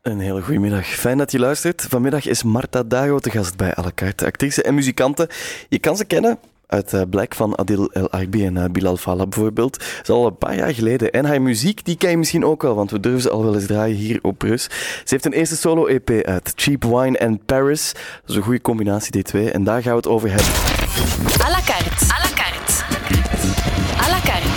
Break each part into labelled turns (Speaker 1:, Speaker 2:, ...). Speaker 1: Een hele goede middag. Fijn dat je luistert. Vanmiddag is Marta Dago te gast bij à la carte. Actrice en muzikante. Je kan ze kennen uit eh, Black van Adil El Aïbi en eh, Bilal Fala bijvoorbeeld. Dat is al een paar jaar geleden. En haar muziek, die ken je misschien ook wel, want we durven ze al wel eens draaien hier op Rus. Ze heeft een eerste solo-EP uit, Cheap Wine and Paris. Dat is een goede combinatie, die twee. En daar gaan we het over hebben.
Speaker 2: À la carte. À la carte. À la carte.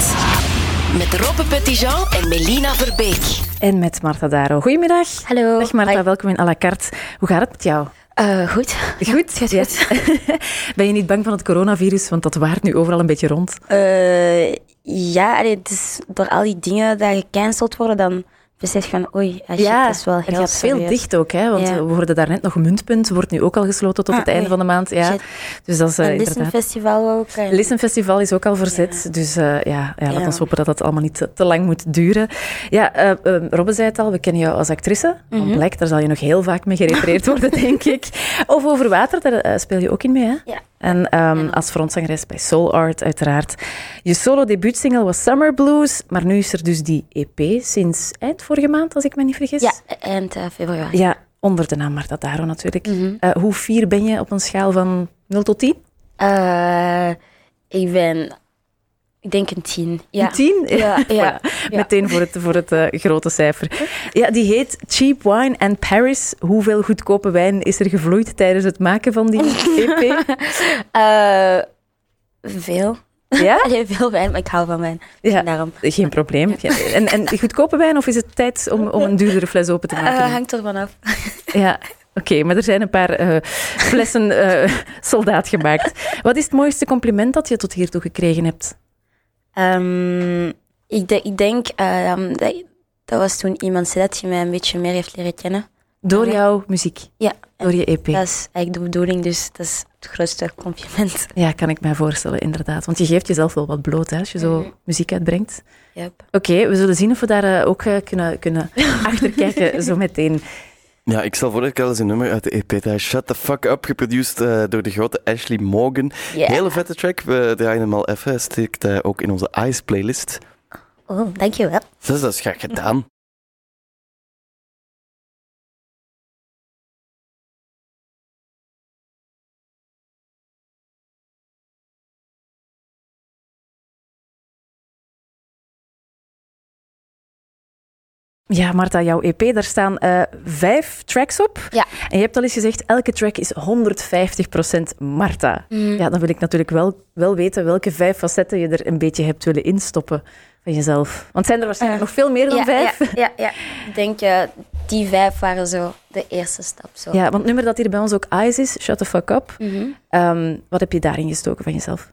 Speaker 2: Met Roppe Petitjean en Melina Verbeek.
Speaker 3: En met Marta Daro. Goedemiddag.
Speaker 4: Hallo.
Speaker 3: Dag Marta,
Speaker 4: Hoi.
Speaker 3: welkom in à la carte. Hoe gaat het met jou?
Speaker 4: Eh, goed.
Speaker 3: Goed,
Speaker 4: het gaat goed.
Speaker 3: Ben je niet bang van het coronavirus? Want dat waart nu overal een beetje rond.
Speaker 4: Eh, ja, allee, het is door al die dingen die gecanceld worden, dan besef je van oei, ah, shit, dat is wel
Speaker 3: het
Speaker 4: heel
Speaker 3: gaat veel
Speaker 4: serieus.
Speaker 3: dicht ook, hè? Want
Speaker 4: Ja.
Speaker 3: we hoorden daarnet nog Muntpunt, wordt nu ook al gesloten tot
Speaker 4: Ah,
Speaker 3: het einde
Speaker 4: oei.
Speaker 3: van de maand. Ja.
Speaker 4: Shit.
Speaker 3: Dus dat is eh,
Speaker 4: Een
Speaker 3: inderdaad.
Speaker 4: Listenfestival ook. en-
Speaker 3: Lissenfestival is ook al verzet, dus eh, ja, ja, laat
Speaker 4: Ja.
Speaker 3: ons hopen dat dat allemaal niet te, te lang moet duren. Ja, eh eh, Robbe zei het al, we kennen jou als actrice.
Speaker 4: Mhm.
Speaker 3: Van Black, daar zal je nog heel vaak mee gerefereerd worden, denk ik. Of Over Water, daar eh, speel je ook in mee, hè?
Speaker 4: Ja.
Speaker 3: En ehm, als frontzangeres bij Soul Art, uiteraard. Je solo debuutsingle was Summer Blues, maar nu is er dus die EP sinds eind vorige maand, als ik me niet vergis.
Speaker 4: Ja, eind eh, februari.
Speaker 3: Ja, onder de naam Marta Daro natuurlijk.
Speaker 4: Mhm.
Speaker 3: Eh, hoe fier ben je op een schaal van 0 tot 10?
Speaker 4: Eh, ik ben, ik denk een tien. Ja.
Speaker 3: Een tien?
Speaker 4: Ja, ja. ja.
Speaker 3: Meteen voor het, voor het eh, grote cijfer. Ja, die heet Cheap Wine and Paris. Hoeveel goedkope wijn is er gevloeid tijdens het maken van die E EP?
Speaker 4: Eh, veel.
Speaker 3: Ja?
Speaker 4: Allee, veel wijn, maar ik hou van wijn.
Speaker 3: Ja.
Speaker 4: Daarom.
Speaker 3: Geen probleem. Ja. En, en die goedkope wijn of is het tijd om, om een duurdere fles open te
Speaker 4: Eh,
Speaker 3: maken?
Speaker 4: hangt ervan af.
Speaker 3: Ja, oké. maar er zijn een paar eh, flessen eh, soldaat gemaakt. Wat is het mooiste compliment dat je tot hiertoe gekregen hebt?
Speaker 4: Ehm, ik, de- ik denk, ehm, dat, dat was toen iemand zei dat hij mij een beetje meer heeft leren kennen.
Speaker 3: Door jouw muziek,
Speaker 4: Ja,
Speaker 3: door je E EP.
Speaker 4: Dat is eigenlijk de bedoeling, dus dat is het grootste compliment.
Speaker 3: Ja, kan ik mij voorstellen, inderdaad. Want je geeft jezelf wel wat bloot hè, als je
Speaker 4: Mhm.
Speaker 3: zo muziek uitbrengt.
Speaker 4: Yep.
Speaker 3: Oké, we zullen zien of we daar eh, ook eh, kunnen, kunnen achterkijken zo meteen.
Speaker 1: Ja, ik stel voor dat ik al eens een nummer uit de EP draai. Shut the fuck up, geproduced eh, door de grote Ashley Morgan.
Speaker 4: Ja.
Speaker 1: Hele vette track, we draaien hem al even. Hij Steekt eh, ook in onze Eyes playlist.
Speaker 4: Oh, dankjewel.
Speaker 1: Dus dat is graag gedaan.
Speaker 3: Ja, Marta, jouw EP, daar staan eh, vijf tracks op.
Speaker 4: Ja.
Speaker 3: En je hebt al eens gezegd, elke track is 150% Marta.
Speaker 4: Mm.
Speaker 3: Ja, dan wil ik natuurlijk wel, wel weten welke vijf facetten je er een beetje hebt willen instoppen van jezelf. Want zijn er waarschijnlijk nog veel meer dan
Speaker 4: Eh. ja,
Speaker 3: vijf?
Speaker 4: Ja, ja, ja. Ik denk, eh, die vijf waren zo de eerste stap. Zo.
Speaker 3: Ja, want het nummer dat hier bij ons ook Eyes is, Shut the Fuck Up. Ehm, wat heb je daarin gestoken van jezelf?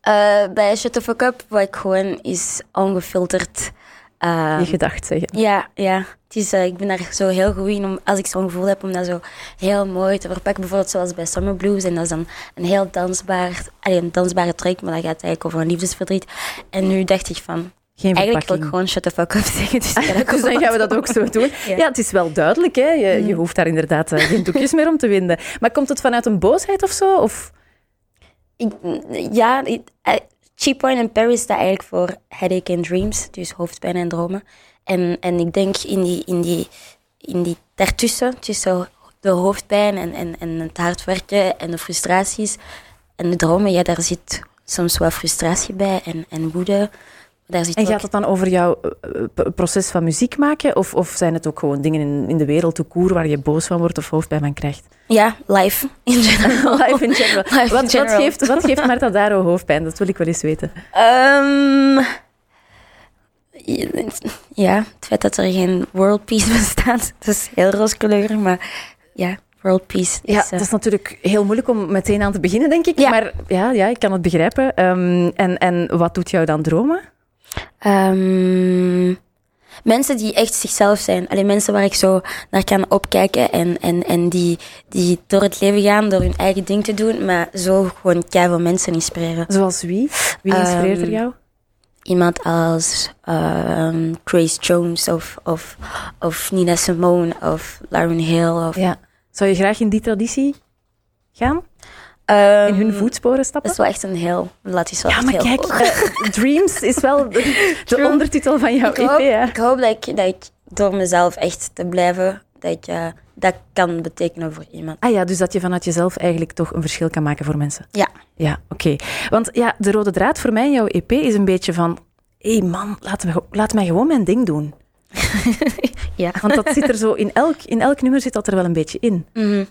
Speaker 4: Eh, bij Shut the Fuck Up, wat ik gewoon is ongefilterd. eh,
Speaker 3: Je gedacht zeggen.
Speaker 4: ja, ja. Het is, eh, ik ben daar zo heel goed in om, als ik zo'n gevoel heb, om dat zo heel mooi te verpakken. Bijvoorbeeld zoals bij Summer Blues. En dat is dan een heel dansbaar, allee, een dansbare track, maar dat gaat eigenlijk over een liefdesverdriet. En nu dacht ik van,
Speaker 3: Geen
Speaker 4: eigenlijk wil ik
Speaker 3: verpakking.
Speaker 4: gewoon Shut the Fuck Up zeggen. Dus, ik ga dat
Speaker 3: Dus dan
Speaker 4: gewoon
Speaker 3: gaan we dat ook zo doen. Ja,
Speaker 4: Ja.
Speaker 3: het is wel duidelijk. Hè? Je, je hoeft daar inderdaad eh, geen doekjes meer om te winden. Maar komt het vanuit een boosheid of zo? Of
Speaker 4: Ik, ja, ik- eh, Cheap Wine in Paris staat eigenlijk voor Headache and Dreams, dus hoofdpijn en dromen. En, en ik denk in die, in die, in die daartussen, tussen de hoofdpijn en, en, en het hard werken en de frustraties en de dromen, ja, daar zit soms wel frustratie bij en, en woede. Daar zit
Speaker 3: en
Speaker 4: ook-
Speaker 3: gaat het dan over jouw eh, eh, p- proces van muziek maken? Of, of zijn het ook gewoon dingen in, in de wereld, to koer, waar je boos van wordt of hoofdpijn van krijgt?
Speaker 4: Ja, life in general.
Speaker 3: Life in general.
Speaker 4: Life in
Speaker 3: wat, wat
Speaker 4: general.
Speaker 3: geeft, wat geeft Marta Daro hoofdpijn? Dat wil ik wel eens weten.
Speaker 4: Ehm, ja, het feit dat er geen world peace bestaat, dat is heel rooskleurig, maar ja, world peace
Speaker 3: Ja,
Speaker 4: is... eh,
Speaker 3: dat is natuurlijk heel moeilijk om meteen aan te beginnen, denk ik.
Speaker 4: Ja.
Speaker 3: Maar Dus, ja, ja, ik kan het begrijpen. Ehm, en, en wat doet jou dan dromen?
Speaker 4: Ehm, mensen die echt zichzelf zijn. Alleen mensen waar ik zo naar kan opkijken en, en, en die, die door het leven gaan, door hun eigen ding te doen, maar zo gewoon keihard mensen inspireren.
Speaker 3: Zoals wie? Wie inspireert er
Speaker 4: Ehm,
Speaker 3: jou?
Speaker 4: Iemand als ehm, Grace Jones of, of, of Nina Simone of Lauren Hill. Of,
Speaker 3: Ja. Zou je graag in die traditie gaan?
Speaker 4: Ehm,
Speaker 3: In hun voetsporen
Speaker 4: Dat
Speaker 3: stappen?
Speaker 4: is wel echt een heel, laat is wel
Speaker 3: Ja,
Speaker 4: echt
Speaker 3: maar
Speaker 4: heel
Speaker 3: kijk,
Speaker 4: hoog.
Speaker 3: eh, Dreams is wel de, de ondertitel van jouw
Speaker 4: Ik hoop,
Speaker 3: EP. Hè?
Speaker 4: ik hoop dat, ik, dat ik door mezelf echt te blijven dat ik eh, dat kan betekenen voor iemand.
Speaker 3: Ah ja, dus dat je vanuit jezelf eigenlijk toch een verschil kan maken voor mensen.
Speaker 4: Ja.
Speaker 3: Ja, oké. Want ja, de rode draad voor mij in jouw EP is een beetje van... Hé hey man, laat, me, ge- laat mij gewoon mijn ding doen.
Speaker 4: Ja.
Speaker 3: Want dat zit er zo in elk, in elk nummer zit dat er wel een beetje in.
Speaker 4: Mhm.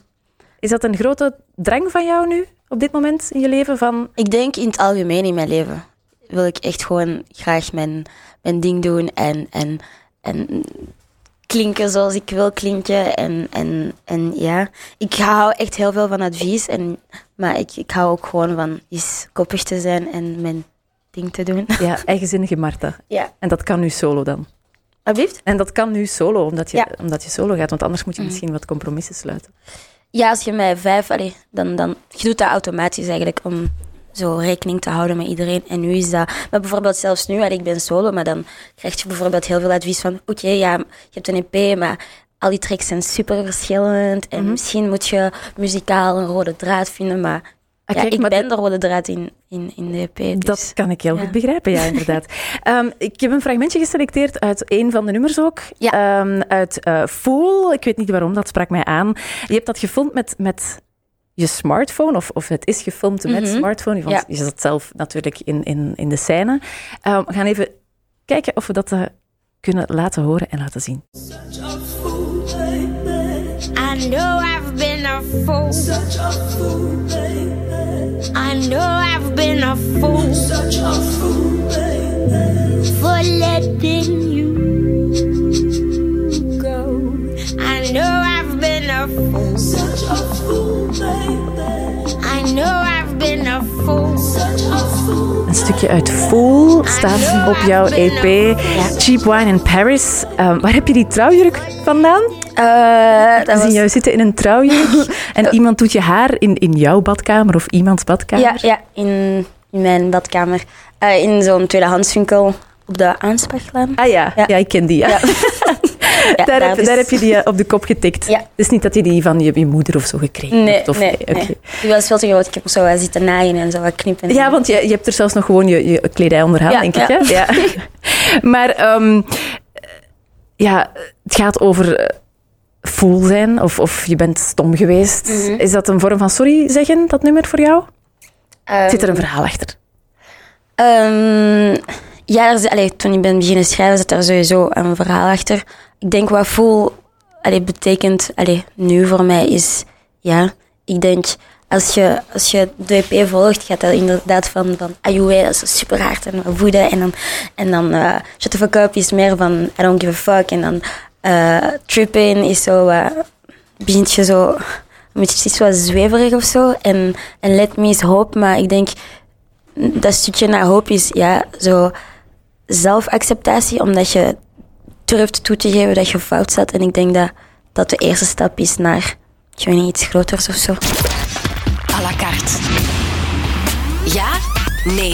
Speaker 3: Is dat een grote drang van jou nu, op dit moment in je leven? Van,
Speaker 4: Ik denk in het algemeen in mijn leven wil ik echt gewoon graag mijn, mijn ding doen en, en, en klinken zoals ik wil klinken. En, en, en ja, ik hou echt heel veel van advies, en, maar ik, ik hou ook gewoon van eens koppig te zijn en mijn ding te doen.
Speaker 3: ja, eigenzinnige Marta.
Speaker 4: Ja.
Speaker 3: En dat kan nu solo dan.
Speaker 4: Alsjeblieft?
Speaker 3: En dat kan nu solo, omdat je,
Speaker 4: Ja. Mhm.
Speaker 3: omdat je solo gaat. Want anders moet je misschien wat compromissen sluiten.
Speaker 4: Ja, als je mij vijf, allee, dan, dan je doet dat automatisch eigenlijk om zo rekening te houden met iedereen. En nu is dat, maar bijvoorbeeld zelfs nu, allee, ik ben solo, maar dan krijg je bijvoorbeeld heel veel advies van, oké, ja, je hebt een EP, maar al die tracks zijn super verschillend
Speaker 3: Mhm.
Speaker 4: en misschien moet je muzikaal een rode draad vinden, maar
Speaker 3: Ah,
Speaker 4: ja,
Speaker 3: kijk,
Speaker 4: ik
Speaker 3: maar
Speaker 4: ben de rode draad in, in, in de EP. Dus.
Speaker 3: Dat kan ik heel
Speaker 4: ja.
Speaker 3: goed begrijpen, ja, inderdaad. Ehm, ik heb een fragmentje geselecteerd uit een van de nummers ook.
Speaker 4: Ja.
Speaker 3: Ehm, uit eh Fool. Ik weet niet waarom, dat sprak mij aan. Je hebt dat gefilmd met, met je smartphone, of, of het is gefilmd met smartphone. Want
Speaker 4: Mhm. Ja.
Speaker 3: je zat zelf natuurlijk in, in, in de scène. Ehm, we gaan even kijken of we dat eh, kunnen laten horen en laten zien.
Speaker 5: I know I've been a fool. Such a fool, baby. I know I've been a fool. Such a fool, baby. For letting you go. I know I've been a fool. Such a fool, baby. I know I've been a fool. Such a fool.
Speaker 3: Een stukje uit Fool staat op jouw EP. Cheap Wine in Paris. Ehm, waar heb je die trouwjurk vandaan?
Speaker 4: Eh, dat
Speaker 3: We zien
Speaker 4: was-
Speaker 3: jou zitten in een trouwjurk en iemand doet je haar in, in jouw badkamer of iemands badkamer.
Speaker 4: Ja, ja in, in mijn badkamer. Eh, in zo'n tweedehandswinkel op de Aanspachlaan.
Speaker 3: Ah ja. ja,
Speaker 4: Ja.
Speaker 3: ik ken die. Ja.
Speaker 4: Ja,
Speaker 3: daar,
Speaker 4: daar
Speaker 3: heb,
Speaker 4: is-
Speaker 3: daar heb je die eh, op de kop getikt.
Speaker 4: Ja.
Speaker 3: Het is niet dat je die van je, je moeder of zo gekregen
Speaker 4: Nee,
Speaker 3: hebt. Of,
Speaker 4: nee,
Speaker 3: oké.
Speaker 4: nee. Die was veel te groot. Ik heb zo wat zitten naaien en zo wat knippen.
Speaker 3: Ja, want je, je hebt er zelfs nog gewoon je, je kledij onderaan,
Speaker 4: Ja,
Speaker 3: denk ik.
Speaker 4: ja.
Speaker 3: Hè? Ja. maar ehm, ja, het gaat over eh, fool zijn of, of je bent stom geweest. Is dat een vorm van sorry zeggen, dat nummer voor jou?
Speaker 4: Ehm,
Speaker 3: Zit er een verhaal achter?
Speaker 4: Ehm, ja, er is- allee, toen ik ben beginnen schrijven zit daar sowieso een verhaal achter. Ik denk wat voel allee, betekent allee, nu voor mij is, ja, ik denk als je, als je de EP volgt, gaat dat inderdaad van, van Ayue, dat is super hard en woede. En dan, en dan eh, Shut the Fuck Up is meer van I don't give a fuck. En dan eh Trippin is zo, eh, begint je zo een beetje iets wat zweverig of zo. En, en Let Me is hoop, maar ik denk dat stukje naar hoop is ja, zo zelfacceptatie, omdat je durft toe te geven dat je fout zat. En ik denk dat dat de eerste stap is naar ik weet niet, iets groters of zo.
Speaker 2: à la carte. Ja, nee.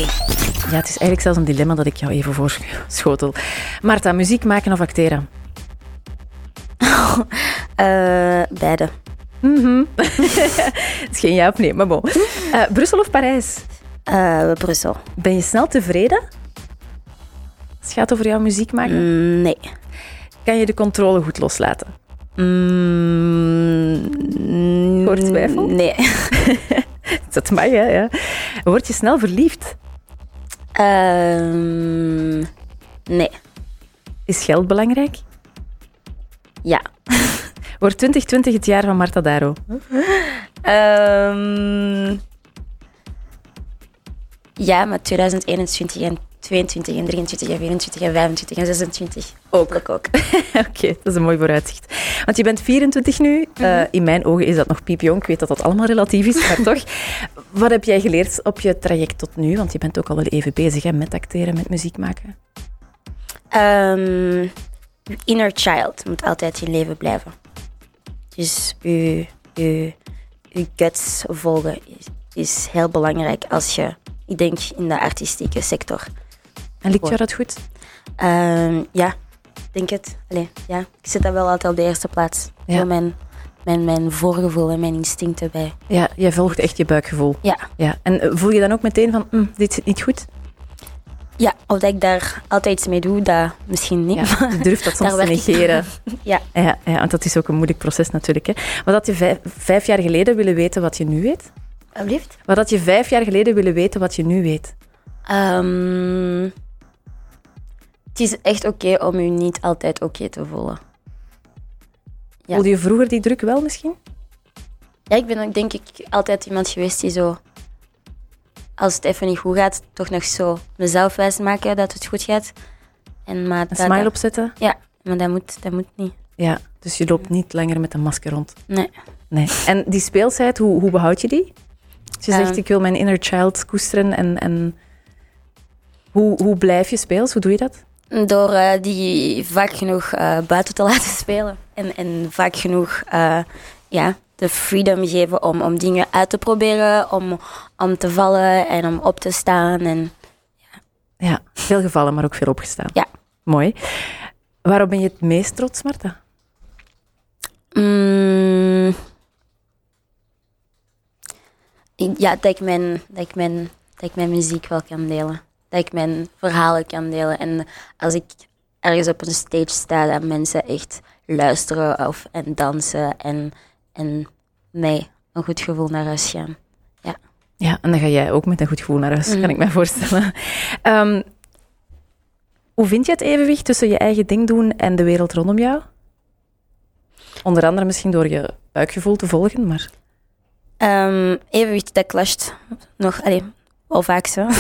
Speaker 3: Ja, het is eigenlijk zelfs een dilemma dat ik jou even voorschotel. Marta, muziek maken of acteren?
Speaker 4: Eh, beide.
Speaker 3: Het is geen ja of nee, maar bon. Eh, Brussel of Parijs?
Speaker 4: Eh, Brussel.
Speaker 3: Ben je snel tevreden? Als het gaat over jouw muziek maken,
Speaker 4: Mm, Nee.
Speaker 3: kan je de controle goed loslaten?
Speaker 4: Mm,
Speaker 3: Voor twijfel?
Speaker 4: Nee.
Speaker 3: Dat mag, hè? Ja. Word je snel verliefd?
Speaker 4: Ehm, nee.
Speaker 3: Is geld belangrijk?
Speaker 4: Ja.
Speaker 3: Wordt 2020 het jaar van Marta Daro?
Speaker 4: Ehm, ja, maar 2021 en 22 en 23 en 24 en 25 en 26. Hopelijk ook.
Speaker 3: Oké, dat is een mooi vooruitzicht. Want je bent 24 nu.
Speaker 4: Mhm.
Speaker 3: Eh, in mijn ogen is dat nog piepjong. Ik weet dat dat allemaal relatief is, maar toch. Wat heb jij geleerd op je traject tot nu? Want je bent ook al wel even bezig hè, met acteren, met muziek maken.
Speaker 4: Ehm, inner child moet altijd in leven blijven. Dus je, je, je guts volgen is, is heel belangrijk als je, ik denk, in de artistieke sector.
Speaker 3: En lukt jou dat goed?
Speaker 4: Ehm, ja, denk het. Allee, ja. Ik zet dat wel altijd op de eerste plaats.
Speaker 3: Ja.
Speaker 4: Voor mijn, mijn, mijn voorgevoel en mijn instincten bij.
Speaker 3: Ja, jij volgt echt je buikgevoel.
Speaker 4: Ja.
Speaker 3: Ja. En eh, voel je dan ook meteen van, "Mm, dit zit niet goed?
Speaker 4: Ja, of dat ik daar altijd iets mee doe, dat misschien niet.
Speaker 3: Ja, je durft dat soms
Speaker 4: Daar
Speaker 3: te
Speaker 4: werk ik
Speaker 3: negeren.
Speaker 4: Ja.
Speaker 3: Ja, ja, want dat is ook een moeilijk proces natuurlijk. Hè. Wat had je vijf, vijf jaar geleden willen weten wat je nu weet?
Speaker 4: Alsjeblieft.
Speaker 3: Wat had je vijf jaar geleden willen weten wat je nu weet?
Speaker 4: Ehm, het is echt oké om je niet altijd oké te voelen. Ja.
Speaker 3: Voelde je vroeger die druk wel misschien?
Speaker 4: Ja, ik ben ook denk ik altijd iemand geweest die zo, als het even niet goed gaat, toch nog zo mezelf wijsmaken dat het goed gaat. En maar
Speaker 3: Een
Speaker 4: dat,
Speaker 3: smile opzetten?
Speaker 4: Ja, maar dat moet, dat moet niet.
Speaker 3: Ja, dus je loopt niet langer met een masker rond.
Speaker 4: Nee.
Speaker 3: Nee. En die speelsheid, hoe, hoe behoud je die? Als je zegt,
Speaker 4: Ehm.
Speaker 3: ik wil mijn inner child koesteren en... en hoe, hoe blijf je speels? Hoe doe je dat?
Speaker 4: Door eh, die vaak genoeg eh, buiten te laten spelen. En, en vaak genoeg eh, ja, de freedom geven om, om dingen uit te proberen, om, om te vallen en om op te staan. En
Speaker 3: Ja, veel gevallen, maar ook veel opgestaan.
Speaker 4: Ja.
Speaker 3: Mooi. Waarop ben je het meest trots, Marta?
Speaker 4: Mm. Ik- ja, dat ik, mijn, dat, ik mijn, dat ik mijn muziek wel kan delen. Dat ik mijn verhalen kan delen. En als ik ergens op een stage sta, dat mensen echt luisteren of, en dansen en, en mij een goed gevoel naar huis gaan.
Speaker 3: Ja, en dan ga jij ook met een goed gevoel naar huis,
Speaker 4: Mm.
Speaker 3: kan ik mij voorstellen. Ehm, hoe vind je het evenwicht tussen je eigen ding doen en de wereld rondom jou? Onder andere misschien door je buikgevoel te volgen, maar
Speaker 4: Ehm evenwicht, dat clasht nog, allee, wel vaak zo.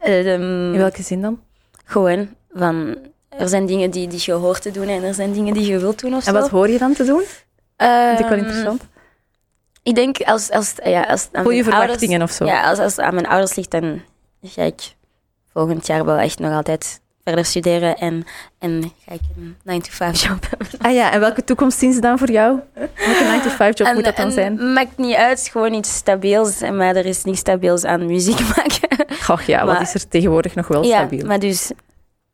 Speaker 4: Ehm,
Speaker 3: in welke zin dan?
Speaker 4: Gewoon, van, er zijn dingen die, die je hoort te doen en er zijn dingen die je wilt doen of
Speaker 3: En
Speaker 4: zo.
Speaker 3: wat hoor je dan te doen? Vind ik wel
Speaker 4: Ehm,
Speaker 3: interessant.
Speaker 4: Ik denk als, als, eh, ja, als het aan
Speaker 3: Voel je
Speaker 4: mijn ouders-
Speaker 3: verwachtingen of zo?
Speaker 4: Ja, als, als het aan mijn ouders ligt, dan ga ik volgend jaar wel echt nog altijd verder studeren en, en ga ik een 9-to-5 job hebben.
Speaker 3: Ah ja, en welke toekomst zien ze dan voor jou? Welke 9-to-5 job
Speaker 4: En-
Speaker 3: moet dat dan
Speaker 4: en mm.
Speaker 3: zijn?
Speaker 4: Maakt niet uit, gewoon iets stabiels, maar er is niks stabiels aan muziek maken.
Speaker 3: Och ja, wat
Speaker 4: maar-
Speaker 3: is er tegenwoordig nog wel
Speaker 4: ja,
Speaker 3: stabiel?
Speaker 4: maar dus,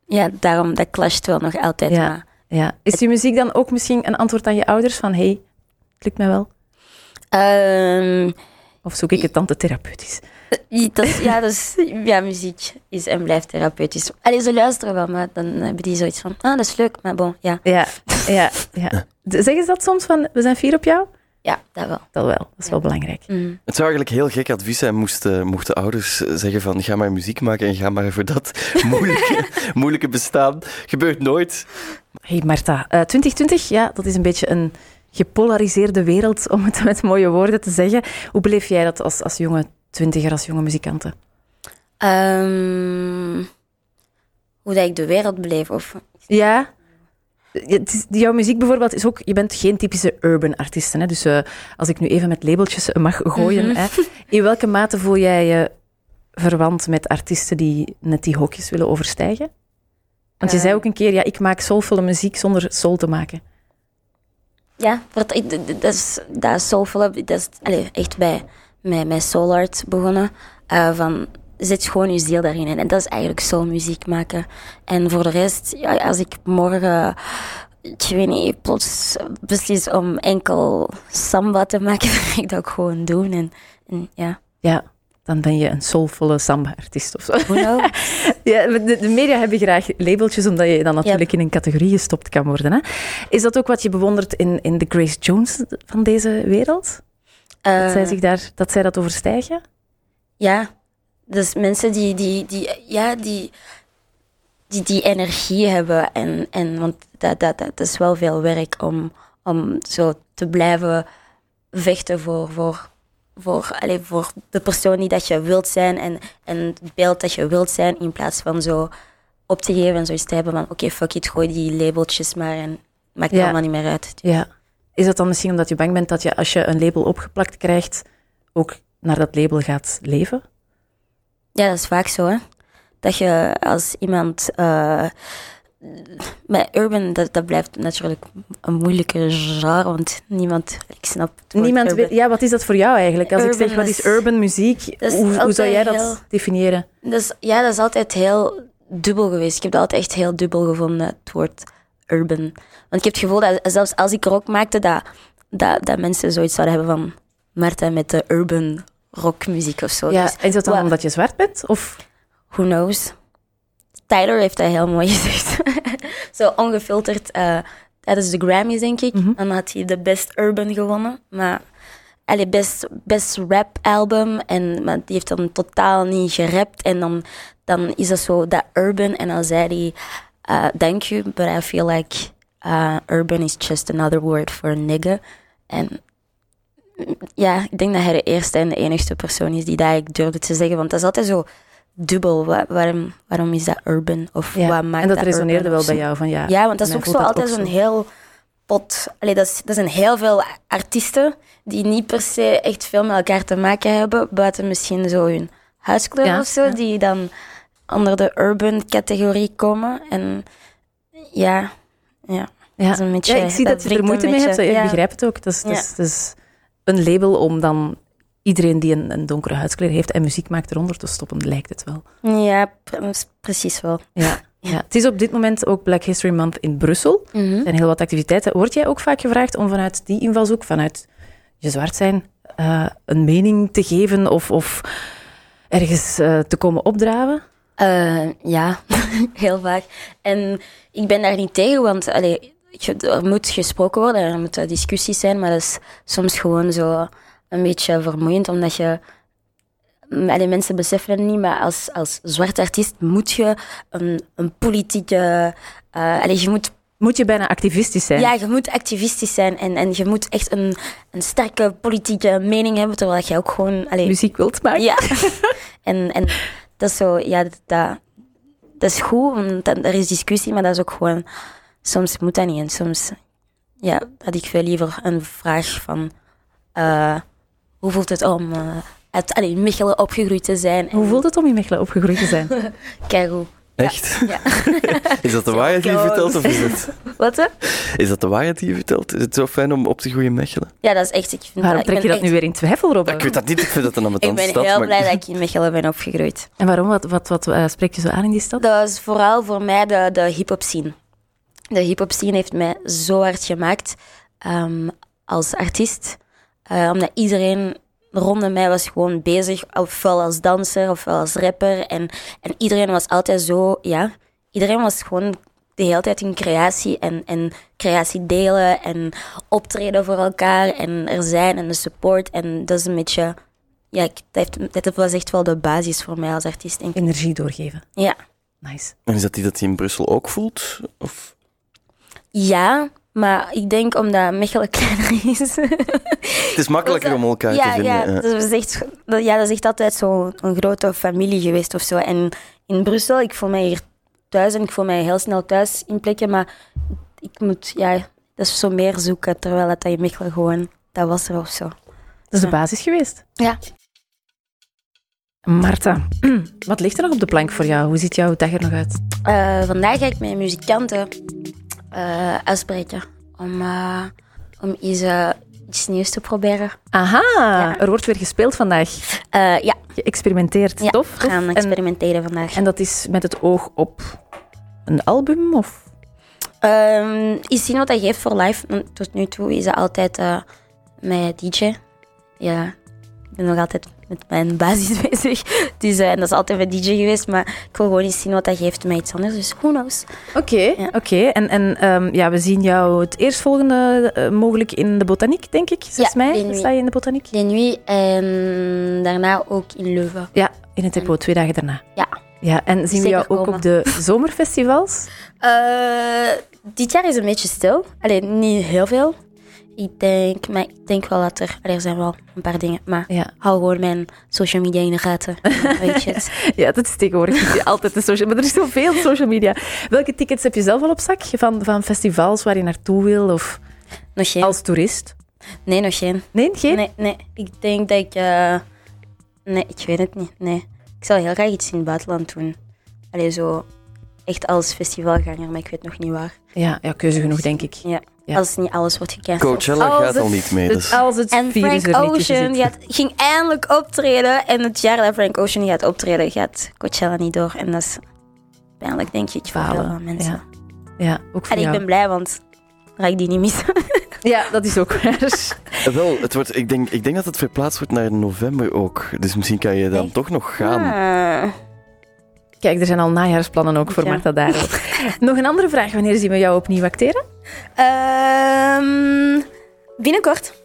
Speaker 4: ja, daarom, dat clasht wel nog altijd.
Speaker 3: Ja.
Speaker 4: Maar,
Speaker 3: Ja. Is die muziek dan ook misschien een antwoord aan je ouders van hey, het lukt mij wel?
Speaker 4: Ehm,
Speaker 3: Of zoek ik het dan te therapeutisch?
Speaker 4: Ja, dat is- ja, dat is- ja, muziek is en blijft therapeutisch. Allee, ze luisteren wel, maar dan hebben die zoiets van... Ah, dat is leuk, maar bon, ja.
Speaker 3: Ja, ja, ja. De- Zeggen ze dat soms van, we zijn fier op jou?
Speaker 4: Ja, dat wel.
Speaker 3: Dat wel, dat is wel belangrijk.
Speaker 4: Mm.
Speaker 1: Het zou eigenlijk heel gek advies zijn moesten, mochten ouders eh, zeggen van ga maar muziek maken en ga maar voor dat moeilijke, moeilijke bestaan. Gebeurt nooit.
Speaker 3: Hey Marta, eh, 2020, ja, dat is een beetje een gepolariseerde wereld, om het met mooie woorden te zeggen. Hoe beleef jij dat als, als jonge twintiger, als jonge muzikante?
Speaker 4: Ehm, hoe dat ik de wereld beleef, of...
Speaker 3: Ja? Ja, het is- jouw muziek bijvoorbeeld is ook, je bent geen typische urban artiest. Hè? Dus eh, als ik nu even met labeltjes mag gooien, hè, in welke mate voel jij je verwant met artiesten die net die hokjes willen overstijgen? Want je
Speaker 4: Eh.
Speaker 3: zei ook een keer, ja, ik maak soulvolle muziek zonder soul te maken.
Speaker 4: Ja, wat, ik- d- d- dat is, dat is soulful, dat is allee, echt bij, met, met soul art begonnen. Eh, van, zet gewoon je ziel daarin in. En dat is eigenlijk soulmuziek maken. En voor de rest, ja, als ik morgen, ik weet niet, plots beslis om enkel samba te maken, dan ga ik dat ook gewoon doen. En, en ja,
Speaker 3: Ja, dan ben je een soulvolle samba-artiest of zo.
Speaker 4: who knows?
Speaker 3: Ja, maar de, de media hebben graag labeltjes, omdat je dan natuurlijk in een categorie gestopt kan worden. Hè? Is dat ook wat je bewondert in, in de Grace Jones van deze wereld? Dat,
Speaker 4: Eh,
Speaker 3: zij zich daar, dat zij dat overstijgen?
Speaker 4: Ja, dus mensen die, die, die, ja, die, die, die energie hebben. En, en, want dat, dat, dat is wel veel werk om, om zo te blijven vechten voor, voor, voor, allee, voor de persoon die dat je wilt zijn en, en het beeld dat je wilt zijn. In plaats van zo op te geven en zoiets te hebben van oké, fuck it, gooi die labeltjes maar en maakt
Speaker 3: Ja.
Speaker 4: allemaal niet meer uit.
Speaker 3: Ja. Is dat dan misschien omdat je bang bent dat je als je een label opgeplakt krijgt, ook naar dat label gaat leven?
Speaker 4: Ja, dat is vaak zo, hè. Dat je als iemand... eh maar urban, dat, dat blijft natuurlijk een moeilijke genre, want niemand... Ik snap het woord
Speaker 3: Niemand
Speaker 4: urban.
Speaker 3: wil, ja, wat is dat voor jou eigenlijk? Als ik
Speaker 4: Urban
Speaker 3: zeg, wat is
Speaker 4: is-
Speaker 3: urban muziek?
Speaker 4: is
Speaker 3: Hoe, hoe zou
Speaker 4: altijd
Speaker 3: jij dat
Speaker 4: heel-
Speaker 3: definiëren?
Speaker 4: Dus, ja, dat is altijd heel dubbel geweest. Ik heb dat altijd echt heel dubbel gevonden, het woord urban. Want ik heb het gevoel dat zelfs als ik rock maakte, dat, dat, dat mensen zoiets zouden hebben van... Marta met de urban rockmuziek of zo.
Speaker 3: Ja,
Speaker 4: Dus,
Speaker 3: is dat dan
Speaker 4: wa-
Speaker 3: omdat je zwart bent? Of
Speaker 4: who knows? Tyler heeft dat heel mooi gezegd. Zo ongefilterd eh, tijdens de Grammys, denk ik.
Speaker 3: Mhm.
Speaker 4: Dan had hij de Best Urban gewonnen. Maar allee, best, best rap album. En maar die heeft dan totaal niet gerapt. En dan, dan is dat zo dat urban. En dan zei hij, eh, thank you, but I feel like eh, urban is just another word for a nigga. En ja, ik denk dat hij de eerste en de enigste persoon is die dat ik durfde te zeggen. Want dat is altijd zo dubbel. Wa- waarom, waarom is dat urban? Of
Speaker 3: Ja.
Speaker 4: wat maakt
Speaker 3: en dat
Speaker 4: dat
Speaker 3: resoneerde
Speaker 4: urban?
Speaker 3: wel
Speaker 4: Of
Speaker 3: bij
Speaker 4: zo.
Speaker 3: jou. Van, ja,
Speaker 4: Ja, want dat is
Speaker 3: mij
Speaker 4: ook zo
Speaker 3: voelt dat
Speaker 4: altijd
Speaker 3: ook
Speaker 4: zo'n heel pot. Allee, dat, is, dat zijn heel veel artiesten die niet per se echt veel met elkaar te maken hebben, buiten misschien zo hun huiskleur
Speaker 3: Ja,
Speaker 4: of zo,
Speaker 3: ja.
Speaker 4: die dan onder de urban categorie komen. En ja, ja.
Speaker 3: Ja.
Speaker 4: is een beetje-
Speaker 3: ja, ik zie dat,
Speaker 4: dat
Speaker 3: je er
Speaker 4: wringt
Speaker 3: moeite
Speaker 4: een
Speaker 3: mee hebt.
Speaker 4: beetje,
Speaker 3: Ik
Speaker 4: ja.
Speaker 3: begrijp het ook. Het is, het
Speaker 4: Ja.
Speaker 3: is- het is een label om dan iedereen die een, een donkere huidskleur heeft en muziek maakt eronder te stoppen, lijkt het wel.
Speaker 4: Ja, pre- precies wel.
Speaker 3: Ja. Ja. Het is op dit moment ook Black History Month in Brussel.
Speaker 4: Mhm.
Speaker 3: Er zijn heel wat activiteiten. Word jij ook vaak gevraagd om vanuit die invalshoek, vanuit je zwart zijn, eh, een mening te geven of, of ergens eh, te komen opdraven?
Speaker 4: Eh, ja, heel vaak. En ik ben daar niet tegen, want allee, je- er moet gesproken worden, er moeten discussies zijn, maar dat is soms gewoon zo een beetje vermoeiend, omdat je... mm, Allee, mensen beseffen het niet, maar als, als zwart artiest moet je een, een politieke... eh allee, je moet
Speaker 3: Moet je bijna activistisch zijn?
Speaker 4: ja, je moet activistisch zijn en, en je moet echt een, een sterke politieke mening hebben, terwijl je ook gewoon... Allee,
Speaker 3: Muziek wilt maken?
Speaker 4: ja. en, en dat is zo, ja, dat, dat, dat is goed, want dan- er is discussie, maar dat is ook gewoon, soms moet dat niet. En soms, ja, had ik veel liever een vraag van, eh, hoe voelt het om eh uit allee, in Mechelen opgegroeid te zijn?
Speaker 3: Hoe voelt het om in Mechelen opgegroeid te zijn?
Speaker 4: Keigoed.
Speaker 1: Echt?
Speaker 4: Ja.
Speaker 1: Is dat de waarheid die je
Speaker 4: Zo.
Speaker 1: vertelt of is het...
Speaker 4: Wat? hè?
Speaker 1: Is dat de waarheid die je vertelt? Is het zo fijn om op te groeien in Mechelen?
Speaker 4: Ja, dat is echt, ik vind
Speaker 3: Waarom
Speaker 4: dat, ik
Speaker 3: trek je
Speaker 4: ben
Speaker 3: dat nu weer in twijfel, Robin?
Speaker 1: Ik weet dat niet, ik vind dat een
Speaker 4: echt- Ik
Speaker 1: ambetante
Speaker 4: ben
Speaker 1: stad.
Speaker 4: heel
Speaker 1: maar-
Speaker 4: blij dat ik in Mechelen ben opgegroeid.
Speaker 3: En waarom? Wat, wat, wat eh, spreekt je zo aan in die stad?
Speaker 4: Dat is vooral voor mij de, de hip-hop scene. De hip-hop scene heeft mij zo hard gemaakt ehm, als artiest. Eh, omdat iedereen rondom mij was gewoon bezig, ofwel als danser ofwel als rapper. En, en iedereen was altijd zo, ja, iedereen was gewoon de hele tijd in creatie en, en creatie delen en optreden voor elkaar en er zijn en de support. En dat is een beetje, ja, ik, dat, heeft, dat was echt wel de basis voor mij als artiest. denk ik.
Speaker 3: Energie doorgeven.
Speaker 4: Ja.
Speaker 3: Nice.
Speaker 1: En is dat die dat hij in Brussel ook voelt? Of...
Speaker 4: Ja, maar ik denk omdat Mechelen kleiner is.
Speaker 1: Het is makkelijker om elkaar
Speaker 4: ja,
Speaker 1: te vinden.
Speaker 4: ja,
Speaker 1: ja.
Speaker 4: dat is echt, dat, ja, dat is echt altijd zo'n een grote familie geweest of zo. En in Brussel, ik voel mij hier thuis en ik voel mij heel snel thuis in plekken. Maar ik moet, ja, dat is zo meer zoeken. Terwijl dat in Mechelen gewoon, dat was er of zo.
Speaker 3: Dat is de basis geweest.
Speaker 4: Ja.
Speaker 3: Marta, wat ligt er nog op de plank voor jou? Hoe ziet jouw dag er nog uit?
Speaker 4: Eh, vandaag ga ik met muzikanten eh uitspreken om, eh, om iets, eh, iets nieuws te proberen.
Speaker 3: Aha, er wordt weer gespeeld vandaag.
Speaker 4: Eh, ja,
Speaker 3: Geëxperimenteerd.
Speaker 4: ja,
Speaker 3: tof.
Speaker 4: we
Speaker 3: tof.
Speaker 4: gaan
Speaker 3: En,
Speaker 4: experimenteren vandaag.
Speaker 3: en dat is met het oog op een album? Of?
Speaker 4: Ehm is zien wat hij geeft voor live. Want Tot nu toe is dat altijd eh met DJ. Ja, ik ben nog altijd met mijn basis bezig. Dus, eh, en dat is altijd met DJ geweest. Maar ik wil gewoon eens zien wat hij geeft met iets anders. Dus who knows.
Speaker 3: Oké,
Speaker 4: Ja.
Speaker 3: oké. En, en ehm, ja, we zien jou het eerstvolgende eh, mogelijk in de botaniek, denk ik. 6
Speaker 4: Ja, in
Speaker 3: mei
Speaker 4: juni.
Speaker 3: sta je in de botaniek.
Speaker 4: De nuit en daarna ook in Leuven.
Speaker 3: Ja, in het depot, twee dagen daarna.
Speaker 4: Ja.
Speaker 3: Ja, en zien we
Speaker 4: Zeker
Speaker 3: jou ook
Speaker 4: komen.
Speaker 3: op de zomerfestivals?
Speaker 4: Eh, dit jaar is een beetje stil. Alleen niet heel veel. Ik denk, maar ik denk wel dat er... Er zijn wel een paar dingen. Maar
Speaker 3: Ja.
Speaker 4: hou gewoon mijn social media in de gaten. Weet je het.
Speaker 3: ja, dat is tegenwoordig altijd de social Maar er is zoveel social media. Welke tickets heb je zelf al op zak? Van, van festivals waar je naartoe wil? Of
Speaker 4: Nog geen?
Speaker 3: als toerist?
Speaker 4: Nee, nog geen.
Speaker 3: Nee, geen?
Speaker 4: Nee, nee, ik denk dat ik. eh, nee, ik weet het niet. Nee. Ik zou heel graag iets in het buitenland doen. Allee, zo echt als festivalganger, maar ik weet nog niet waar.
Speaker 3: Ja, ja, keuze genoeg, denk ik.
Speaker 4: Ja.
Speaker 3: Ja.
Speaker 4: Als niet alles wordt gecanceld.
Speaker 1: Coachella
Speaker 3: Als
Speaker 1: gaat
Speaker 3: het-
Speaker 1: al niet mee.
Speaker 3: Het,
Speaker 1: Dus.
Speaker 4: Oh,
Speaker 3: als het
Speaker 4: En
Speaker 3: virus
Speaker 4: Frank
Speaker 3: er niet tussen
Speaker 4: Ocean
Speaker 3: zit.
Speaker 4: gaat, ging eindelijk optreden. En het jaar dat Frank Ocean gaat optreden, gaat Coachella niet door. En dat is pijnlijk, denk ik, voor heel veel
Speaker 3: Falen.
Speaker 4: mensen.
Speaker 3: Ja. ja, ook voor
Speaker 4: En ik
Speaker 3: jou.
Speaker 4: ben blij, want dan ga ik die niet missen.
Speaker 3: Ja, dat is ook waar.
Speaker 1: Eh, Wel, het wordt, ik, denk, ik denk dat het verplaatst wordt naar november ook. Dus misschien kan je dan
Speaker 4: Echt?
Speaker 1: toch nog gaan.
Speaker 4: Ah.
Speaker 3: Kijk, er zijn al najaarsplannen ook voor
Speaker 4: Ja.
Speaker 3: Marta Daro. Nog een andere vraag. Wanneer zien we jou opnieuw acteren?
Speaker 4: Ehm, binnenkort.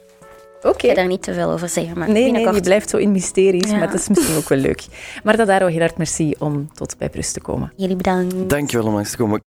Speaker 3: Oké.
Speaker 4: Ik ga daar niet te veel over zeggen, maar
Speaker 3: Nee, nee,
Speaker 4: binnenkort.
Speaker 3: die blijft zo in mysteries,
Speaker 4: Ja.
Speaker 3: maar dat is misschien ook wel leuk. Marta Daro, heel hard merci om tot bij Brust te komen.
Speaker 4: Jullie bedankt.
Speaker 1: Dankjewel om langs te komen.